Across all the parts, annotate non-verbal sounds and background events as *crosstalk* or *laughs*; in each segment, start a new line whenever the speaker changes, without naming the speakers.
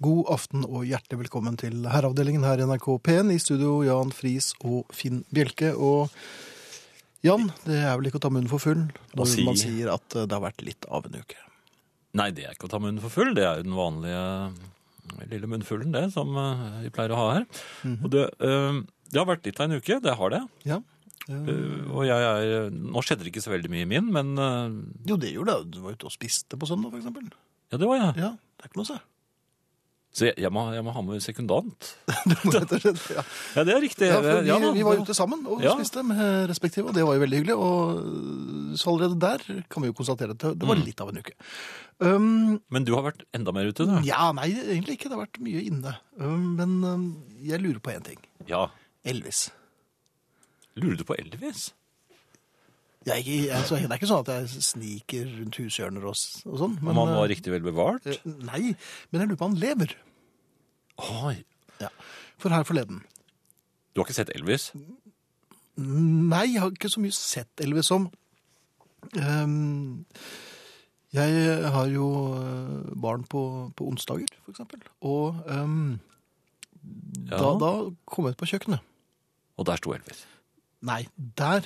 God aften og hjertelig velkommen til Herreavdelingen her i NRK P1. I studio Jan Friis og Finn Bjelke. Og Jan, det er vel ikke å ta munnen for full
Å
når
si.
man sier at eh, det har vært litt av en uke.
Nei, det er ikke å ta munnen for full. Det er jo den vanlige eh, lille munnfullen, det, som eh, vi pleier å ha her.
Mhm.
Og det, eh, det har vært litt av en uke, det har det.
Ja. Eh,
Eh, og jeg er Nå skjedde det ikke så veldig mye i min, men eh,
Jo, det gjorde det. Du var ute og spiste på søndag, for eksempel.
ja, det var jeg.
Ja, det er ikke *laughs* noe å se.
Så jeg, jeg, må, jeg må ha med sekundant.
Du må rett og slett- Ja.
Ja, det er riktig.
Eh, *laughs* Ja, for vi,
Ja da.
vi var ute sammen og
Ja.
spiste med respektive, og det var jo veldig hyggelig. Og eh, så allerede der kan vi jo konstatere at det var litt av en uke. Um,
Men du har vært enda mer ute, du.
ja, nei, egentlig ikke. Det har vært mye inne. Um, men um, jeg lurer på én ting.
Ja.
Elvis.
Lurer du på Elvis?
Jeg, er ikke- altså, det er ikke sånn at jeg sniker rundt hushjørner og, s- og sånn.
Om han var riktig vel bevart?
eh, Nei, men jeg lurer på om han lever.
Oi.
Ja. For her forleden
Du har ikke sett Elvis?
Nei, jeg har ikke så mye sett Elvis som. Ehm, jeg har jo eh, barn på, på onsdager, for eksempel. Og ehm,
Ja.
da, da kom jeg ut på kjøkkenet.
Og der sto Elvis. *laughs*
Nei, der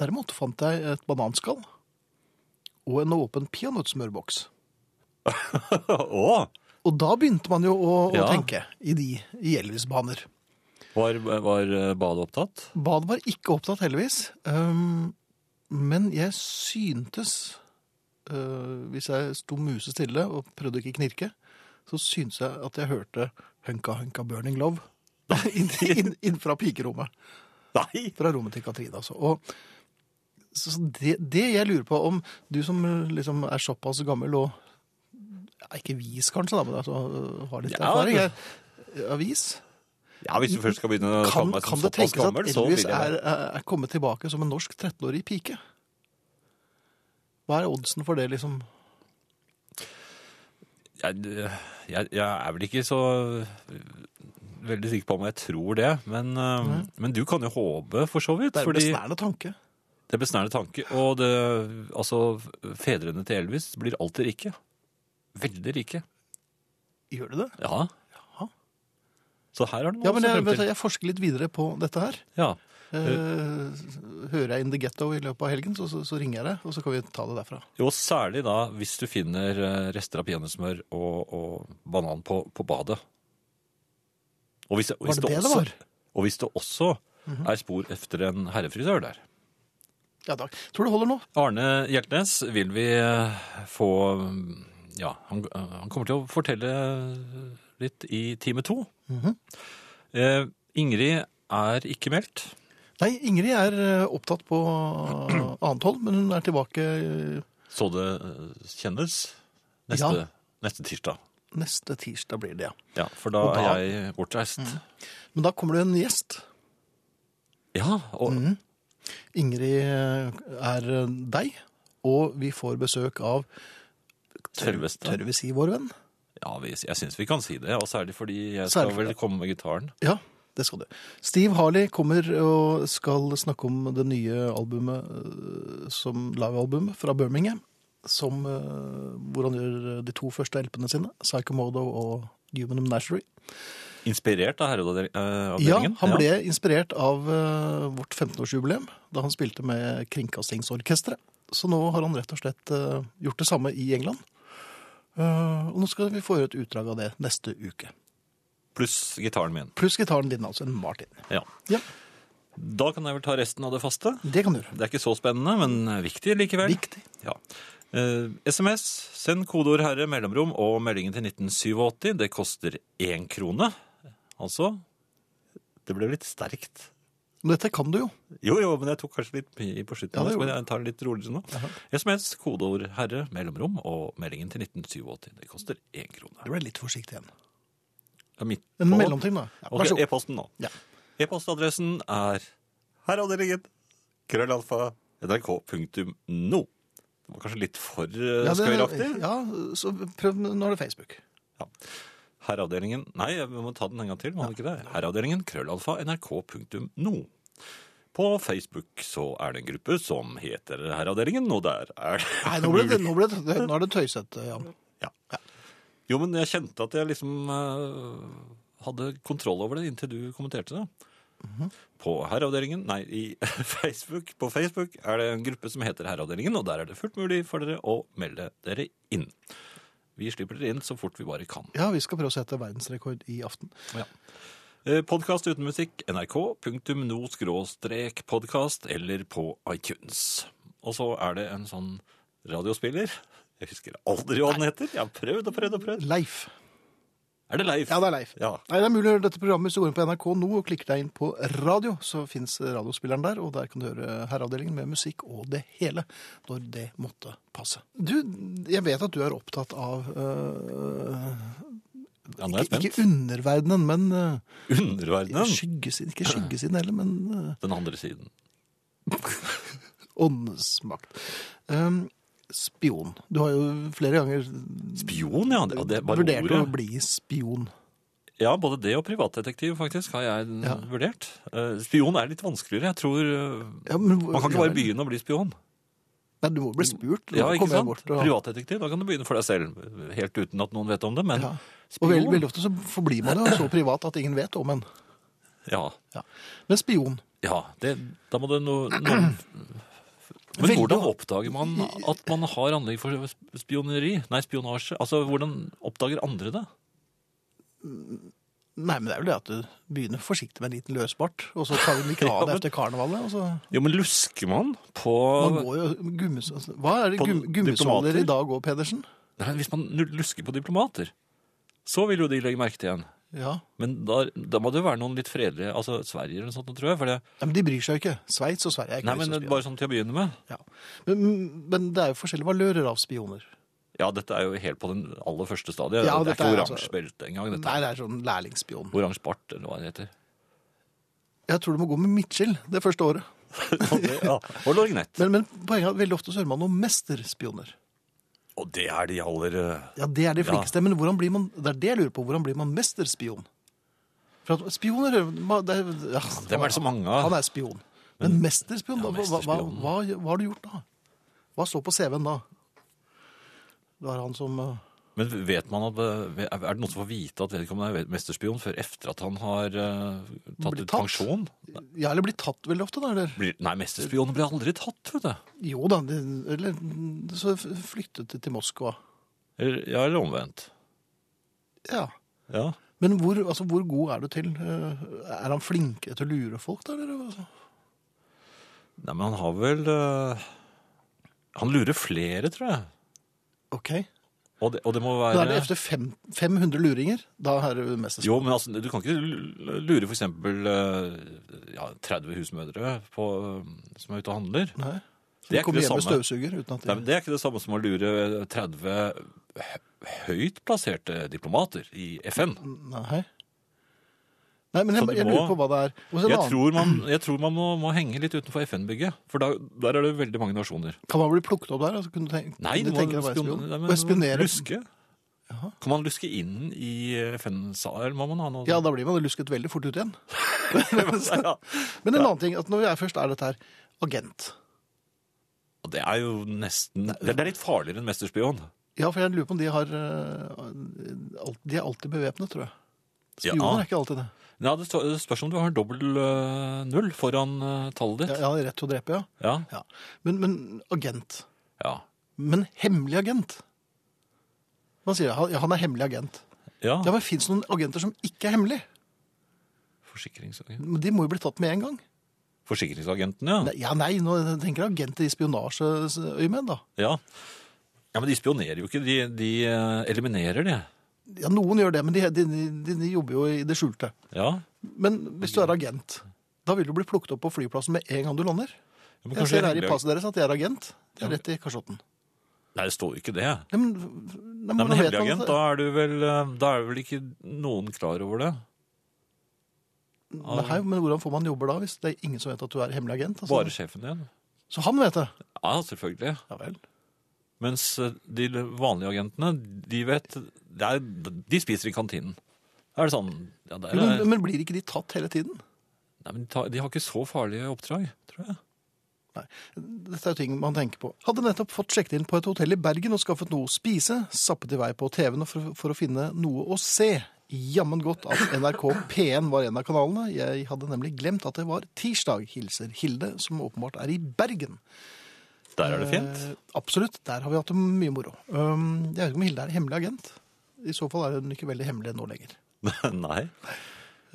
derimot fant jeg et bananskall og en åpen peanøttsmørboks.
Å!
Og da begynte man jo å,
Ja.
å tenke i de i Elvis-baner.
Var, var eh, badet opptatt?
Bad var ikke opptatt, heldigvis. Ehm, men jeg syntes, eh, hvis jeg sto musestille og prøvde ikke å knirke, så syntes jeg at jeg hørte Hunka Hunka Burning Love *laughs* inn, inn, inn fra pikerommet.
Nei!
Fra rommet til Katrine, altså. Og, så så det, det jeg lurer på, om du som eh, liksom er såpass gammel og ja, Ikke vis, kanskje, da, men altså, eh, har litt
Ja,
erfaring. Jeg, avis.
Ja, Hvis du først skal begynne å
Kan,
kalle meg
kan
som
det
såpass
tenkes
gammel,
at
så vil
Elvis
jeg
er, er kommet tilbake som en norsk 13-årig pike? Hva er oddsen for det, liksom?
jeg, jeg, jeg er vel ikke så øh, veldig sikker på om jeg tror det, men, eh, men du kan jo håpe, for så vidt.
Det er en
fordi
besnærende tanke.
det er besnærende tanke. Og det, altså, fedrene til Elvis blir alltid rike. Veldig rike.
Gjør det det?
Ja.
Jaha.
Så her er det noe
Ja, men
å se
jeg,
frem
vet,
til.
du, jeg forsker litt videre på dette her.
Ja.
Eh, hører jeg In The Ghetto i løpet av helgen, så, så, så ringer jeg deg, og så kan vi ta det derfra.
Jo, særlig da hvis du finner eh, rester av peanøttsmør og, og banan på, på badet. Og hvis, og
Var
hvis
det det det
også,
var? Mhm.
Og hvis det også er spor etter en herrefrisør der.
Ja, takk. Tror det holder nå.
Arne Hjeltnes vil vi eh, få Ja, han, han kommer til å fortelle litt i time to.
Mhm.
eh, Ingrid er ikke meldt.
Nei, Ingrid er eh, opptatt på eh, annet hold, men hun er tilbake eh,
Så det eh, kjennes neste,
Ja.
neste tirsdag.
neste tirsdag, blir det. ja.
Ja, For da,
Og da- Mhm.
er jeg bortreist.
Men da kommer det en gjest.
Ja, og
Mm. Ingrid eh, er deg, og vi får besøk av
selveste
Tør vi si vår venn?
Ja, vi, jeg syns vi kan si det. Og særlig fordi jeg
Særlig
skal
fordi-
vel komme med gitaren.
Ja, det skal du. Steve Harley kommer og skal snakke om det nye albumet, eh, som livealbum fra Birmingham, som, eh, hvor han gjør de to første LP-ene sine, Psychomodo og Human Menagerie.
Inspirert av herreavdelingen. eh,
Ja, han ble inspirert av eh, vårt 15-årsjubileum, da han spilte med Kringkastingsorkestret. Så nå har han rett og slett eh, gjort det samme i England. Eh, og nå skal vi få høre et utdrag av det neste uke.
Pluss gitaren min.
Pluss gitaren din, altså en Martin.
Ja.
Ja,
Da kan jeg vel ta resten av det faste.
det kan du gjøre.
Det er ikke så spennende, men viktig likevel.
Viktig.
Ja. Eh, SMS, send kodeord herre mellomrom og meldingen til 1987. Det koster én krone. Altså Det ble litt sterkt.
Men dette kan du jo.
Jo, jo, men jeg tok kanskje litt mye på slutten.
Ja, det
så
gjorde
jeg tar det litt roligere nå. SMS, kodeord herre, mellomrom og meldingen til 1987. Det koster én krone.
Du ble litt forsiktig igjen.
Det er mitt
En
på.
mellomting, da. Ja,
Ok,
vær så god.
E-posten nå.
Ja.
E-postadressen er herreavdelingen krøllalfa nrk.no. Det var kanskje litt for uh,
Ja, det-
skøyeraktig.
Ja, så prøv Nå er det Facebook.
Herreavdelingen Nei, jeg må ta den en gang til. Må den ikke det? Herreavdelingen krøllalfa nrk.no. På Facebook så er det en gruppe som heter Herreavdelingen, og der er det
Nei, nå, ble det, nå, ble det, nå er det tøysete, Jan.
Jo, men jeg kjente at jeg liksom eh, hadde kontroll over det inntil du kommenterte det.
Mhm.
På Herreavdelingen, nei, i *laughs* Facebook, på Facebook er det en gruppe som heter Herreavdelingen, og der er det fullt mulig for dere å melde dere inn. Vi slipper dere inn så fort vi bare kan.
Ja, vi skal prøve å sette verdensrekord i aften.
Podkast Eh, uten musikk, nrk.no-podkast eller på iTunes. Og så er det en sånn radiospiller. Jeg husker aldri hva den heter. Jeg har prøvd og prøvd og prøvd.
Leif.
Er det Leif?
Ja, det er Leif.
Ja.
Nei, det er mulig å høre dette programmet hvis du går inn på NRK nå og klikker deg inn på radio, så fins radiospilleren der, og der kan du høre Herreavdelingen med musikk og det hele, når det måtte passe. Du, jeg vet at du er opptatt av øh,
ja, nå er jeg spent.
Ikke underverdenen, men øh,
Underverdenen.
skyggesiden. Ikke skyggesiden heller, men øh,
Den andre siden.
åndsmakt. Ehm, spion. Du har jo flere ganger
Spion, ja. Det, ja, det er bare
vurdert å
ordet.
bli spion.
Ja, både det og privatdetektiv, faktisk, har jeg
Ja.
vurdert. Eh, Spion er litt vanskeligere. Jeg tror eh,
Ja, men,
Man kan ikke bare begynne å bli spion.
Nei, du må bli spurt.
Ja,
Da
ikke
kommer jeg
sant?
bort og-
Privatdetektiv, da kan du begynne for deg selv. Helt uten at noen vet om det, men
Ja. Og
spion
veldig, veldig ofte så forblir man jo så privat at ingen vet om en.
Ja,
Ja. Men spion
ja det, da må det no, *clears throat* noen Men
Veldig-
hvordan oppdager man at man har anlegg for sp- spioneri? Nei, spionasje. Altså, hvordan oppdager andre det?
Nei, men det er vel det at du begynner forsiktig med en liten løsbart, og så tar du ikke
*laughs* Ja,
av
men-
det etter karnevalet. Og så
Jo, men lusker man på
man går jo gummis... altså, Hva er det
På
gum, gummisåler
diplomater?
i dag òg, Pedersen?
Nei, Hvis man nu- lusker på diplomater, så vil jo de legge merke til en.
Ja.
Men da, da må det jo være noen litt fredelige Altså Sverige eller noe sånt, tror jeg. For det,
Nei, men de bryr seg jo ikke. Sveits og Sverige er ikke
nei, men
så spioner.
bare sånn til å begynne med.
Ja. Men, men det er jo forskjellige valører av spioner.
Ja, dette er jo helt på den aller første stadiet.
Ja,
det er
dette
ikke
er altså-
oransje belte engang.
Nei,
Dette.
det er sånn lærlingsspion.
Oransje bart, eller hva det heter. *laughs*
Jeg tror du må gå med midtskill det første året.
ja, og lorgnett.
Men, men poenget er at veldig ofte så hører man om mesterspioner.
Og det er de aller eh,
Ja, det er de flinkeste. Men hvordan blir man, det er det jeg lurer på. Hvordan blir man mesterspion? For at spioner ma- det er, ja,
Dem er det så mange av.
Han er spion. Men, mesterspion, da, hva,
Ja,
hva,
mesterspion.
hva, hva har du gjort da? Hva står på CV-en da? Det var han som eh,
Men vet man at eh, Er det noen som får vite at vedkommende er mesterspion før efter at han har eh, tatt
Blir
ut
tatt?
pensjon?
Ja, eller blir tatt veldig ofte, da? Eller?
Blir, nei, mesterspioner blir aldri tatt, vet du.
Jo da, det, eller så f- flyttet de til Moskva.
Eller, ja, eller omvendt.
Ja.
Ja.
Men hvor, altså, hvor god er du til? eh, Er han flinkere til å lure folk, da? Eller? Altså,
Nei, men han har vel eh, Han lurer flere, tror jeg.
OK.
Og det, og det må
Da
være
er det efter fem, 500 luringer. Da er du mesterspion.
Jo, men altså, du kan ikke l- lure for eksempel eh, ja, 30 husmødre på, eh, som er ute og handler.
Nei. Det
Det er ikke
kommer
det
hjem med
samme.
støvsuger uten at de...
Nei, men Det er ikke det samme som å lure 30 hø- høyt plasserte diplomater i FN.
Nei. Nei, men
Så
jeg,
du
jeg
må-
lurer på hva det er. Og så en
Jeg
annen.
tror man, jeg tror man må, må henge litt utenfor FN-bygget, for da, der er det veldig mange nasjoner.
Kan man bli plukket opp der? Altså, kunne du tenke,
Nei,
kunne du
du må
tenke deg å være
spion-
spion?
nei, men
Og spionere?
luske. Kan man luske inn i FN-sal? Må man ha noe
Ja, da blir man lusket veldig fort ut igjen. *laughs*
Ja.
Men en annen ting, at når jeg først er dette her, agent.
Og Det er jo nesten Det det er litt farligere enn mesterspion.
Ja, for jeg lurer på om de har eh, alt- De er alltid bevæpnet, tror jeg. Spioner
Ja.
er ikke alltid det.
Ja, det står- det spørs om du har dobbel øh, null foran øh, tallet
Ja,
ditt.
ja, rett til å drepe, ja.
Ja.
ja. Men, men agent.
Ja.
Men hemmelig agent. Man sier han, ja, han er hemmelig agent.
ja.
Ja, men Fins det noen agenter som ikke er hemmelige?
Forsikringsagent.
Men De må jo bli tatt med en gang.
Forsikringsagenten, ja.
Nei, ja, nei, nå tenker jeg agenter i spionasjeøyemed, da.
ja. Ja, Men de spionerer jo ikke. De, de øh, eliminerer, de.
Ja, Noen gjør det, men de, de, de, de jobber jo i det skjulte.
Ja.
Men hvis du er agent, da vil du bli plukket opp på flyplassen med en gang du lander.
Ja, men
Jeg
kanskje
ser her i
hemmelig-
passet deres at de er agent. De er rett i kasjotten.
Nei, det står jo ikke det.
Nei, men, nei,
Nei,
hvordan
men
vet
Hemmelig
man
agent,
at-
da er du vel øh, Da er vel ikke noen klar over det?
Nei, men hvordan får man jobber da, hvis det er ingen som vet at du er hemmelig agent? Altså?
Bare sjefen din?
Så han vet det?
Ja, selvfølgelig.
Ja vel.
Mens øh, de vanlige agentene, de vet det er, De spiser i kantinen. Da er det sånn ja, der
Jo,
er,
men, men blir ikke de tatt hele tiden?
Nei, men de, tar, de har ikke så farlige oppdrag, tror jeg.
Dette er jo ting man tenker på. Hadde nettopp fått sjekket inn på et hotell i Bergen og skaffet noe å spise. Sappet i vei på TV-en for, for å finne noe å se. Jammen godt at NRK P1 var en av kanalene. Jeg hadde nemlig glemt at det var tirsdag. Hilser Hilde, som åpenbart er i Bergen.
Der er det fint.
Eh, absolutt. Der har vi hatt det mye moro. Um, jeg vet ikke om Hilde er hemmelig agent. I så fall er hun ikke veldig hemmelig nå lenger.
*laughs* Nei.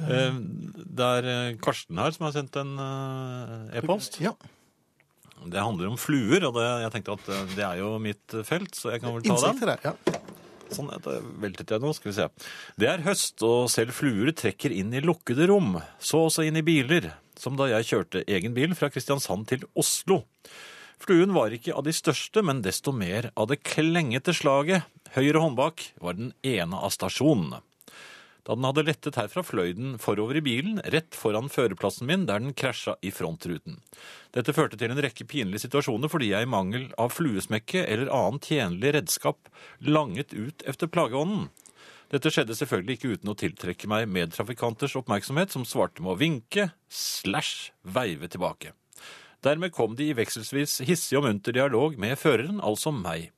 Eh, Det er eh, Karsten her som har sendt en eh, e-post.
Ja,
Det handler om fluer, og det, jeg tenkte at eh, det er jo mitt felt, så jeg kan vel ta den.
Insekter her. Ja.
Sånn, da veltet jeg nå, skal vi se. Det er høst, og selv fluer trekker inn i lukkede rom, så også inn i biler, som da jeg kjørte egen bil fra Kristiansand til Oslo. Fluen var ikke av de største, men desto mer av det klengete slaget. Høyre håndbak var den ene av stasjonene. Da den hadde lettet herfra, fløy den forover i bilen, rett foran førerplassen min, der den krasja i frontruten. Dette førte til en rekke pinlige situasjoner fordi jeg i mangel av fluesmekke eller annet tjenlig redskap langet ut efter plageånden. Dette skjedde selvfølgelig ikke uten å tiltrekke meg medtrafikanters oppmerksomhet, som svarte med å vinke slash veive tilbake. Dermed kom de i vekselvis hissig og munter dialog med føreren, altså meg.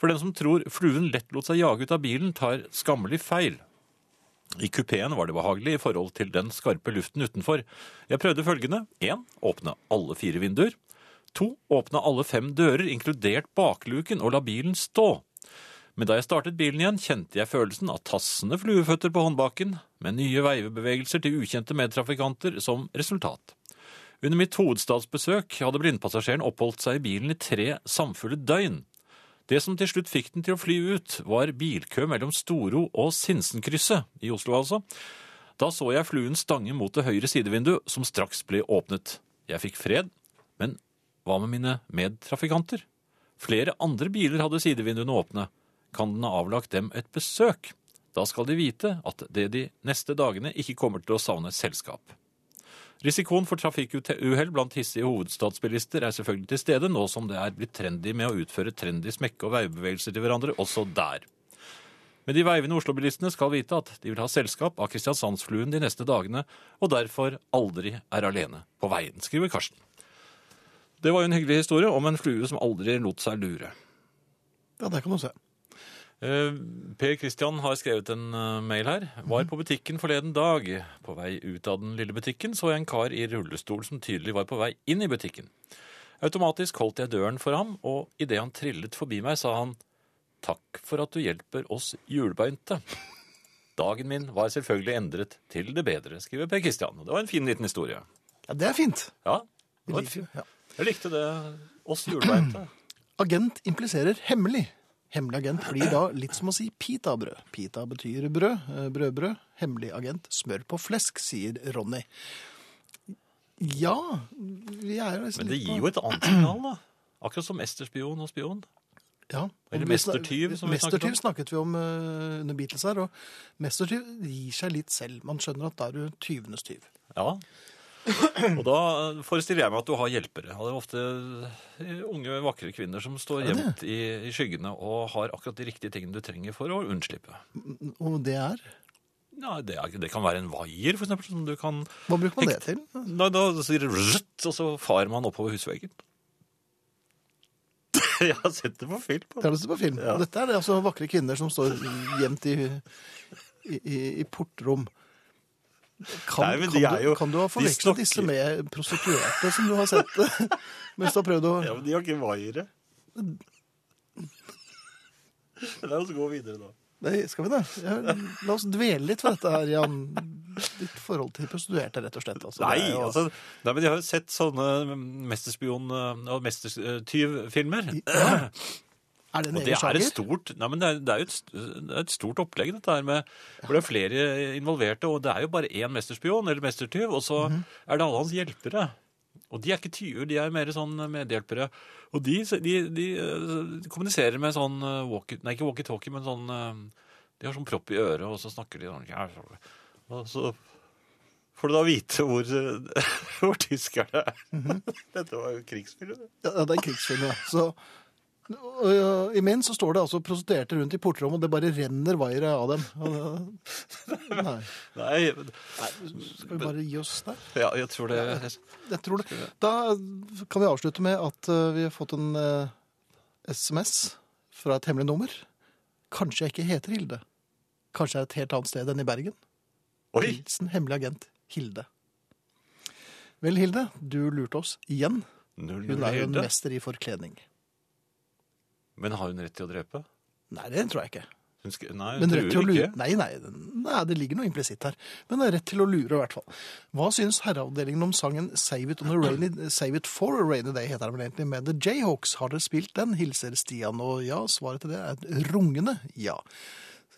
For den som tror fluen lett lot seg jage ut av bilen, tar skammelig feil. I kupeen var det behagelig i forhold til den skarpe luften utenfor. Jeg prøvde følgende. 1. Åpne alle fire vinduer. 2. Åpne alle fem dører, inkludert bakluken, og la bilen stå. Men da jeg startet bilen igjen, kjente jeg følelsen av tassende flueføtter på håndbaken, med nye veivebevegelser til ukjente medtrafikanter som resultat. Under mitt hovedstadsbesøk hadde blindpassasjeren oppholdt seg i bilen i tre samfulle døgn. Det som til slutt fikk den til å fly ut, var bilkø mellom Storo og Sinsenkrysset, i Oslo altså. Da så jeg fluen stange mot det høyre sidevinduet, som straks ble åpnet. Jeg fikk fred, men hva med mine medtrafikanter? Flere andre biler hadde sidevinduene åpne. Kan den ha avlagt dem et besøk? Da skal de vite at det de neste dagene ikke kommer til å savne selskap. Risikoen for trafikkuhell blant hissige hovedstadsbilister er selvfølgelig til stede, nå som det er blitt trendy med å utføre trendy smekke- og veibevegelser til hverandre også der. Men de veivende Oslo-bilistene skal vite at de vil ha selskap av Kristiansandsfluen de neste dagene, og derfor aldri er alene på veien, skriver Karsten. Det var jo en hyggelig historie om en flue som aldri lot seg lure.
ja, der kan du se.
Eh, Per Kristian har skrevet en eh, mail her. Var på butikken forleden dag. På vei ut av den lille butikken så jeg en kar i rullestol som tydelig var på vei inn i butikken. Automatisk holdt jeg døren for ham, og idet han trillet forbi meg, sa han takk for at du hjelper oss hjulbeinte. Dagen min var selvfølgelig endret til det bedre, skriver Per Kristian. Det var en fin liten historie.
Ja, det er fint.
Ja, det
Vi
var,
liker jo- Ja.
jeg likte det. Oss hjulbeinte.
Agent impliserer hemmelig. Hemmelig agent blir da litt som å si pita-brød. Pita betyr brød, eh, brødbrød. Hemmelig agent smør på flesk, sier Ronny. Ja, vi er jo liksom
Men det gir jo et annet signal, da. Akkurat som mesterspion og spion.
ja.
Eller
Og vi snak-
mestertyv, som vi
Mestertyv
snakket
snakket vi om eh, under Beatles her, og mestertyv gir seg litt selv. Man skjønner at da er du tyvenes tyv.
Ja. Og da forestiller jeg meg at du har hjelpere. Og det er ofte eh, unge, vakre kvinner som står
Er det
gjemt i, i skyggene og har akkurat de riktige tingene du trenger for å unnslippe.
Og det er
Ja, det, er, det kan være en vaier, for eksempel, som du kan
Hva bruker man det til?
Da, da sier det «Rrrt», og så farer man oppover husveggen. jeg har sett det på film.
Det har du sett på film.
Ja.
Og Dette er det altså vakre kvinner som står gjemt i, i, i, i portrom. Kan,
Nei, men de
kan,
er
du,
jo-
kan du ha
de
forvekslet
snakker-
disse med prostituerte som du har sett *laughs* mens du har prøvd å
Ja, men de har ikke vaiere. *laughs* La oss gå videre, da.
Nei, skal vi det? Ja, la oss dvele litt ved dette her, Jan. Ditt forhold til prostituerte, rett og slett. Altså,
Nei,
Det er jo-
altså, nei, men jeg har jo sett sånne mesterspion- og mestertyvfilmer.
Ja. Er det en
Og det
egen
er,
sjanger?
et stort, nei, men det, er, det, er jo et, st- det er et stort opplegg, dette her med hvor det er flere involverte, og det er jo bare én mesterspion eller mestertyv, og så er det alle hans hjelpere. Og de er ikke tyver, de er mer sånn medhjelpere. Og de, de, de eh, kommuniserer med sånn eh, walkie, nei, ikke walkie-talkie, men sånn eh, De har sånn propp i øret, og så snakker de sånn Og så får du da vite hvor, *laughs* eh, hvor tyskerne er. Dette var jo krigsfilm. det.
Ja, det er en krigsfilm, ja. Så Og, øh, I min så står det altså prostituerte rundt i portrommet, og det bare renner vaiere av dem. Og det- Nei,
Nei,
skal vi bare gi oss der?
ja, jeg tror det
Jeg tror det. Da kan vi avslutte med at øh, vi har fått en øh, SMS fra et hemmelig nummer. Kanskje jeg ikke heter Hilde. Kanskje jeg er et helt annet sted enn i Bergen.
Oi!
Hilsen hemmelig agent Hilde. Vel, Hilde, du lurte oss igjen.
Null
Hun er jo en
Hilde.
mester i forkledning.
Men har hun rett til å drepe?
Nei, det tror jeg ikke.
Hun sk nei, hun
Men rett til å
truer
lure
ikke.
nei, nei, nei, det ligger noe implisitt her. Men det er rett til å lure, i hvert fall. Hva syns herreavdelingen om sangen Save It, on a rainy, Save It for a Rainy Day, heter den vel egentlig, med The Jayhawks? Har dere spilt den? Hilser Stian. Og ja, svaret til det er et rungende ja.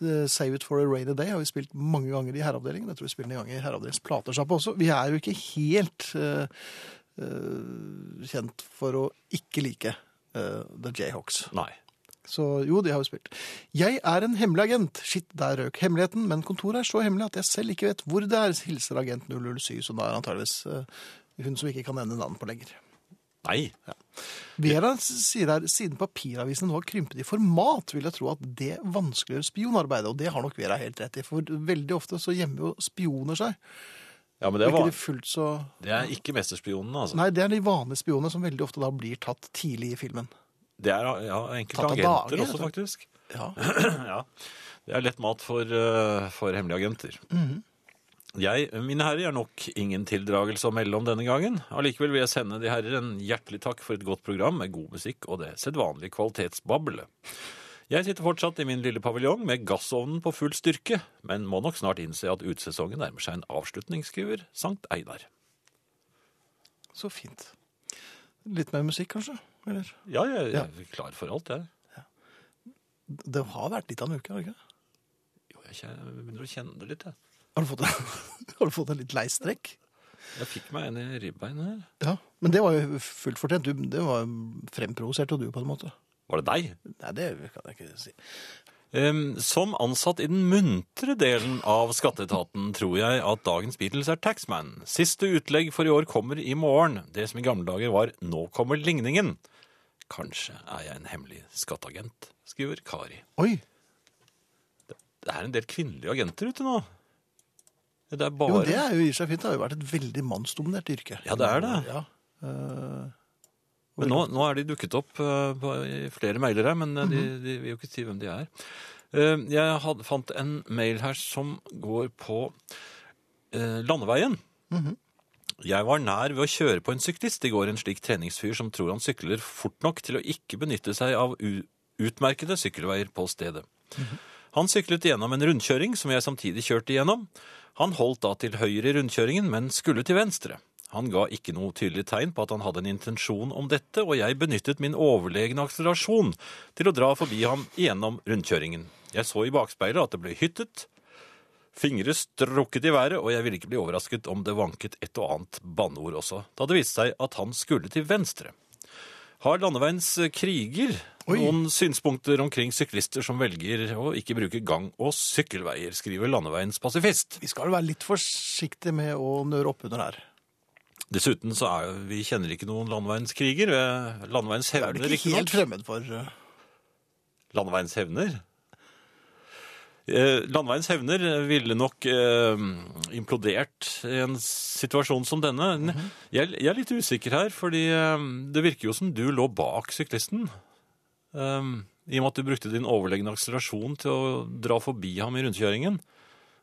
Eh, Save It for a Rainy Day har vi spilt mange ganger i herreavdelingen. Jeg tror vi spiller den en gang i herreavdelingens platesjappe også. Vi er jo ikke helt eh, eh, kjent for å ikke like eh, The Jayhawks.
Nei.
Så jo, de har jo spilt. Jeg er en hemmelig agent. Shit, der røk hemmeligheten. Men kontoret er så hemmelig at jeg selv ikke vet hvor det er, hilser agent 007, som da er antageligvis eh, hun som ikke kan nevne navnet på lenger.
Nei.
Vera s- sier her siden papiravisene nå har krympet i format, vil jeg tro at det vanskeliggjør spionarbeidet. Og det har nok Vera helt rett i, for veldig ofte så gjemmer jo spioner seg.
Ja, men
Det,
det,
er ikke
var,
de fullt så...
det er ikke mesterspionene, altså.
Nei, det er de vanlige spionene som veldig ofte da blir tatt tidlig i filmen.
Det er ja, enkelte
Tatt av
agenter
dage,
også,
altså.
faktisk. *clears throat*
Ja.
ja. Det er lett mat for, eh, for hemmelige agenter.
Mhm.
Jeg, mine herrer, er nok ingen tildragelse å melde om denne gangen. Allikevel vil jeg sende de herrer en hjertelig takk for et godt program med god musikk og det sedvanlige kvalitetsbabbelet. Jeg sitter fortsatt i min lille paviljong med gassovnen på full styrke, men må nok snart innse at utesesongen nærmer seg en avslutning, skriver Sankt Einar.
Så fint. Litt mer musikk, kanskje? Eller?
Ja, jeg, jeg er klar for alt, jeg.
Det har vært litt av en uke, har det ikke? det?
Jo, jeg kjen- begynner å kjenne det litt, jeg.
Har du fått en, *laughs* har du fått en litt lei strekk?
Jeg fikk meg en i ribbeinet her.
Ja, men det var jo fullt fortjent. Du, det var fremprovosert av du, på en måte.
Var det deg?
Nei, det kan jeg ikke si.
Ehm, Som ansatt i den muntre delen av skatteetaten tror jeg at dagens Beatles er Taxman. Siste utlegg for i år kommer i morgen. Det som i gamle dager var Nå kommer ligningen. Kanskje er jeg en hemmelig skatteagent, skriver Kari.
Oi!
Det er en del kvinnelige agenter ute nå. Det er
Jo,
bare
men det er jo i seg fint. Det har jo vært et veldig mannsdominert yrke.
Ja, det er det.
Ja. Eh,
Men nå, nå er de dukket opp eh, på, i flere mailer her, men eh, de, de vil jo ikke si hvem de er. Eh, Jeg had, fant en mail her som går på eh, landeveien. Jeg var nær ved å kjøre på en syklist i går, en slik treningsfyr som tror han sykler fort nok til å ikke benytte seg av u utmerkede sykkelveier på stedet. Han syklet gjennom en rundkjøring som jeg samtidig kjørte gjennom. Han holdt da til høyre i rundkjøringen, men skulle til venstre. Han ga ikke noe tydelig tegn på at han hadde en intensjon om dette, og jeg benyttet min overlegne akselerasjon til å dra forbi ham gjennom rundkjøringen. Jeg så i bakspeilet at det ble hyttet, fingre strukket i været, og jeg ville ikke bli overrasket om det vanket et og annet banneord også, da det viste seg at han skulle til venstre. Har landeveiens kriger
Oi.
noen synspunkter omkring syklister som velger å ikke bruke gang- og sykkelveier, skriver landeveiens pasifist.
vi skal jo være litt forsiktige med å nøre opp under her.
Dessuten så er jo- vi kjenner ikke noen landeveiens kriger. eh, Landeveiens
Det er
hevner,
vel ikke
riktignok.
helt fremmed for eh,
Landeveiens hevner. Eh, Landeveiens hevner ville nok eh, implodert i en situasjon som denne. jeg, jeg er litt usikker her, fordi eh, det virker jo som du lå bak syklisten. Eh, I og med at du brukte din overlegne akselerasjon til å dra forbi ham i rundkjøringen.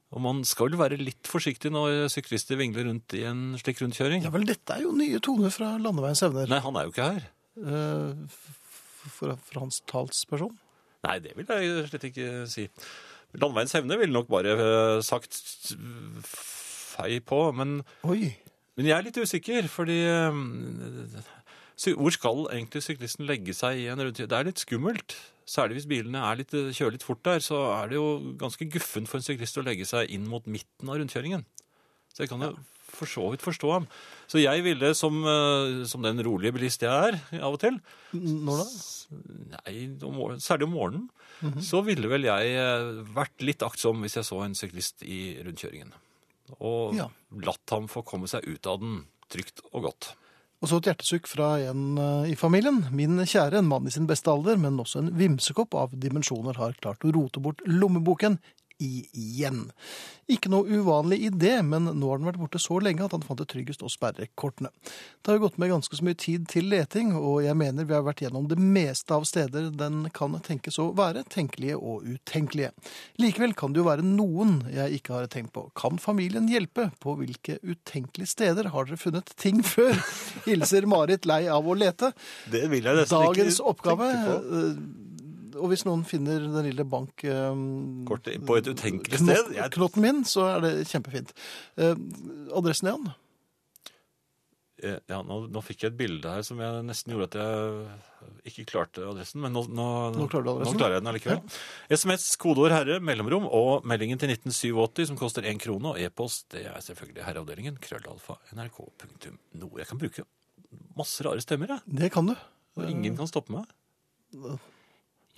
Og man skal vel være litt forsiktig når syklister vingler rundt i en slik rundkjøring.
Ja vel, dette er jo nye toner fra landeveiens evner.
Nei, han er jo ikke her.
eh, f- fra, fra hans talsperson.
Nei, det vil jeg slett ikke si. Landveiens hevne ville nok bare eh, sagt s- fei på, men,
Oi!
men jeg er litt usikker, fordi eh, sy- hvor skal egentlig syklisten legge seg i en rundtur? Det er litt skummelt. Særlig hvis bilene er litt, eh, kjører litt fort der, så er det jo ganske guffen for en syklist å legge seg inn mot midten av rundkjøringen. Så jeg kan jo for så vidt forstå ham. Så jeg ville, som, eh, som den rolige bilist jeg er av og til,
N- Når da?
Nei, om morgen- særlig om morgenen. Så ville vel jeg eh, vært litt aktsom hvis jeg så en syklist i rundkjøringen. Og
Ja.
latt ham få komme seg ut av den trygt og godt.
Og så et hjertesukk fra en eh, i familien. Min kjære, en mann i sin beste alder, men også en vimsekopp av dimensjoner, har klart å rote bort lommeboken igjen. Ikke noe uvanlig i det, men nå har den vært borte så lenge at han fant det tryggest å sperre kortene. Det har jo gått med ganske så mye tid til leting, og jeg mener vi har vært gjennom det meste av steder den kan tenkes å være, tenkelige og utenkelige. Likevel kan det jo være noen jeg ikke har tenkt på. Kan familien hjelpe? På hvilke utenkelige steder har dere funnet ting *laughs* før? Hilser Marit lei av å lete.
Det vil jeg nesten
Dagens
ikke
oppgave
tenke på.
eh, Og hvis noen finner den lille bank... eh,
Kortet på et utenkelig
knott,
sted. Jeg,
knotten min, så er det kjempefint. Eh, adressen igjen?
Eh, Ja, nå, nå fikk jeg et bilde her som jeg nesten gjorde at jeg eh, ikke klarte adressen, men nå, nå,
Nå klarer du adressen.
nå klarer jeg den allikevel. SMS, kodeord herre, mellomrom og meldingen til 1987 som koster én krone, og e-post det er selvfølgelig herreavdelingen, krøllalfa, nrk.no. Jeg kan bruke masse rare stemmer, jeg.
Det kan du.
Og ingen kan stoppe meg.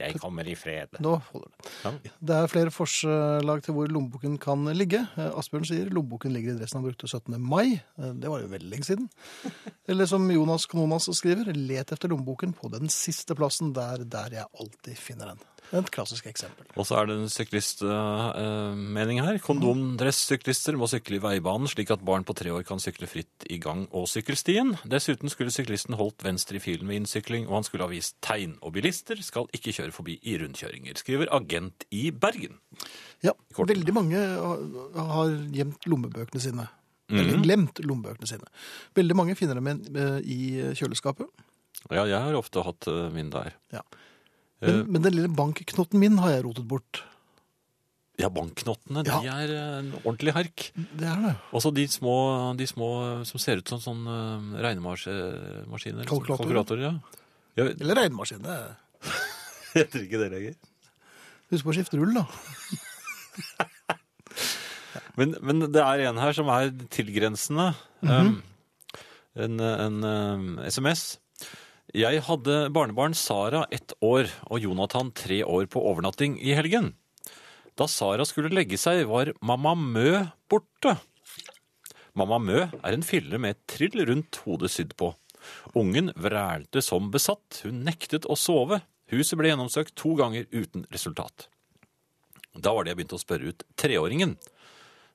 Jeg kommer i fred.
Nå holder det.
Ja.
Det er flere forslag til hvor lommeboken kan ligge. Eh, Asbjørn sier lommeboken ligger i dressen han brukte 17. mai. Eh, Det var jo veldig lenge *laughs* siden. Eller som Jonas Knonas skriver, let etter lommeboken på den siste plassen, der, der jeg alltid finner den. Et klassisk eksempel.
Og så er det en syklistmening her. Kondomdress-syklister må sykle i veibanen slik at barn på tre år kan sykle fritt i gang- og sykkelstien. Dessuten skulle syklisten holdt venstre i filen ved innsykling, og han skulle ha vist tegn. Og bilister skal ikke kjøre forbi i rundkjøringer, skriver agent i Bergen.
Ja,
kortene.
veldig mange har- har gjemt lommebøkene sine. Eller glemt lommebøkene sine. Veldig mange finner dem i- eh, i kjøleskapet.
Ja, jeg har ofte hatt eh, min der.
Ja.
Eh.
Men, men den lille bankknotten min har jeg rotet bort.
Ja, bankknottene,
Ja.
de er eh, en ordentlig herk.
Det er det.
Også de små, de små som ser ut som sånn eh, regnemaskiner.
Kalkulatorer.
Kalkulatorer, ja. Jeg
Eller regnmaskin. det er-
heter ikke det lenger.
Husk på å skifte rull, da.
Men, men det er en her som er tilgrensende. Um, en en um, SMS. Jeg hadde barnebarn Sara ett år og Jonathan tre år på overnatting i helgen. Da Sara skulle legge seg, var Mamma Mø borte. Mamma Mø er en fille med et trill rundt hodet sydd på. Ungen vrælte som besatt. Hun nektet å sove. Huset ble gjennomsøkt to ganger uten resultat. Da var det jeg begynte å spørre ut treåringen.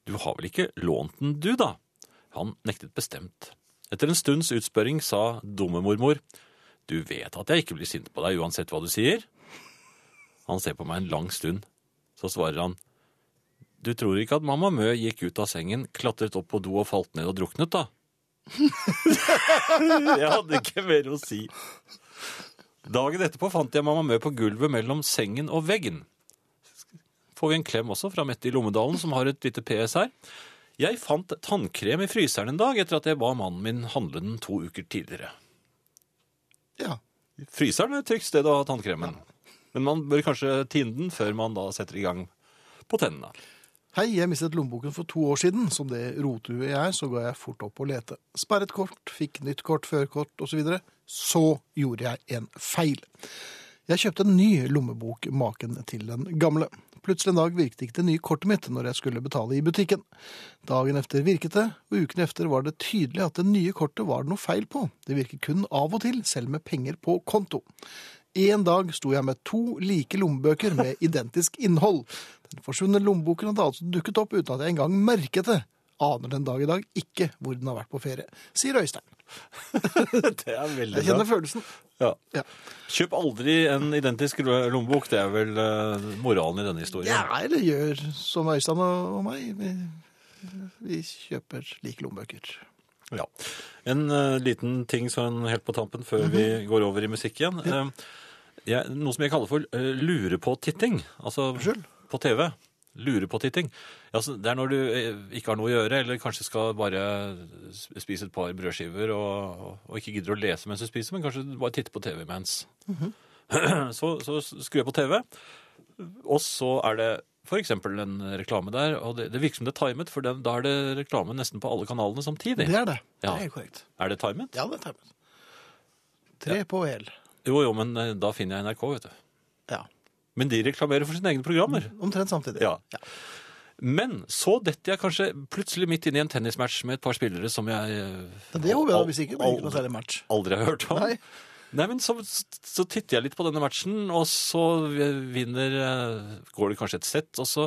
Du har vel ikke lånt den, du, da? Han nektet bestemt. Etter en stunds utspørring sa dumme mormor, du vet at jeg ikke blir sint på deg uansett hva du sier. Han ser på meg en lang stund. Så svarer han, du tror ikke at mamma Mø gikk ut av sengen, klatret opp på do og falt ned og druknet, da? *laughs* jeg hadde ikke mer å si. Dagen etterpå fant jeg mamma Mø på gulvet mellom sengen og veggen får vi en klem også fra Mette i Lommedalen, som har et lite PS her. Jeg fant tannkrem i fryseren en dag etter at jeg ba mannen min handle den to uker tidligere.
Ja.
Fryseren er et trygt sted å ha tannkremen. Men man bør kanskje tine den før man da setter i gang på tennene.
Hei, jeg mistet lommeboken for to år siden. Som det rotehuet jeg er, så ga jeg fort opp å lete. Sperret kort, fikk nytt kort, førerkort osv. Så, videre. så gjorde jeg en feil. Jeg kjøpte en ny lommebok, maken til den gamle. Plutselig en dag virket ikke det nye kortet mitt når jeg skulle betale i butikken. Dagen efter virket det, og uken efter var det tydelig at det nye kortet var det noe feil på. Det virket kun av og til, selv med penger på konto. En dag sto jeg med to like lommebøker med identisk innhold. Den forsvunne lommeboken hadde altså dukket opp uten at jeg engang merket det. Aner den dag i dag ikke hvor den har vært på ferie, sier Øystein.
*laughs* Det er veldig
Jeg kjenner følelsen.
Ja.
Ja.
Kjøp aldri en identisk lommebok. Det er vel eh, moralen i denne historien.
Ja, eller gjør som Øystein og og meg. Vi, vi kjøper like lommebøker.
Ja. En eh, liten ting sånn helt på tampen før vi går over i musikk igjen. Eh, jeg, noe som jeg kaller for uh, lure-på-titting. Altså
Unnskyld?
på TV. Lure-på-titting. Ja, altså, det er når du eh, ikke har noe å gjøre, eller kanskje skal bare s- spise et par brødskiver og, og ikke gidder å lese mens du spiser, men kanskje du bare titter på TV mens. *clears throat* så, så skrur jeg på TV, og så er det for eksempel en reklame der, og det, det virker som det er timet, for den, da er det reklame nesten på alle kanalene samtidig.
Det er det.
Ja.
Det er korrekt.
Er det timet?
Ja, det tar vi. Tre på hel.
Jo, jo, men eh, da finner jeg NRK, vet du.
Ja.
Men de reklamerer for sine egne programmer.
Omtrent samtidig.
Ja. Men så detter jeg kanskje plutselig midt inn i en tennismatch med et par spillere som jeg eh,
Men det håper jeg da,
al-
hvis ikke. Det blir ikke noe
aldri,
særlig match.
aldri har hørt om.
Nei.
Nei, men så, så titter jeg litt på denne matchen, og så vinner eh, Går det kanskje et sett, og så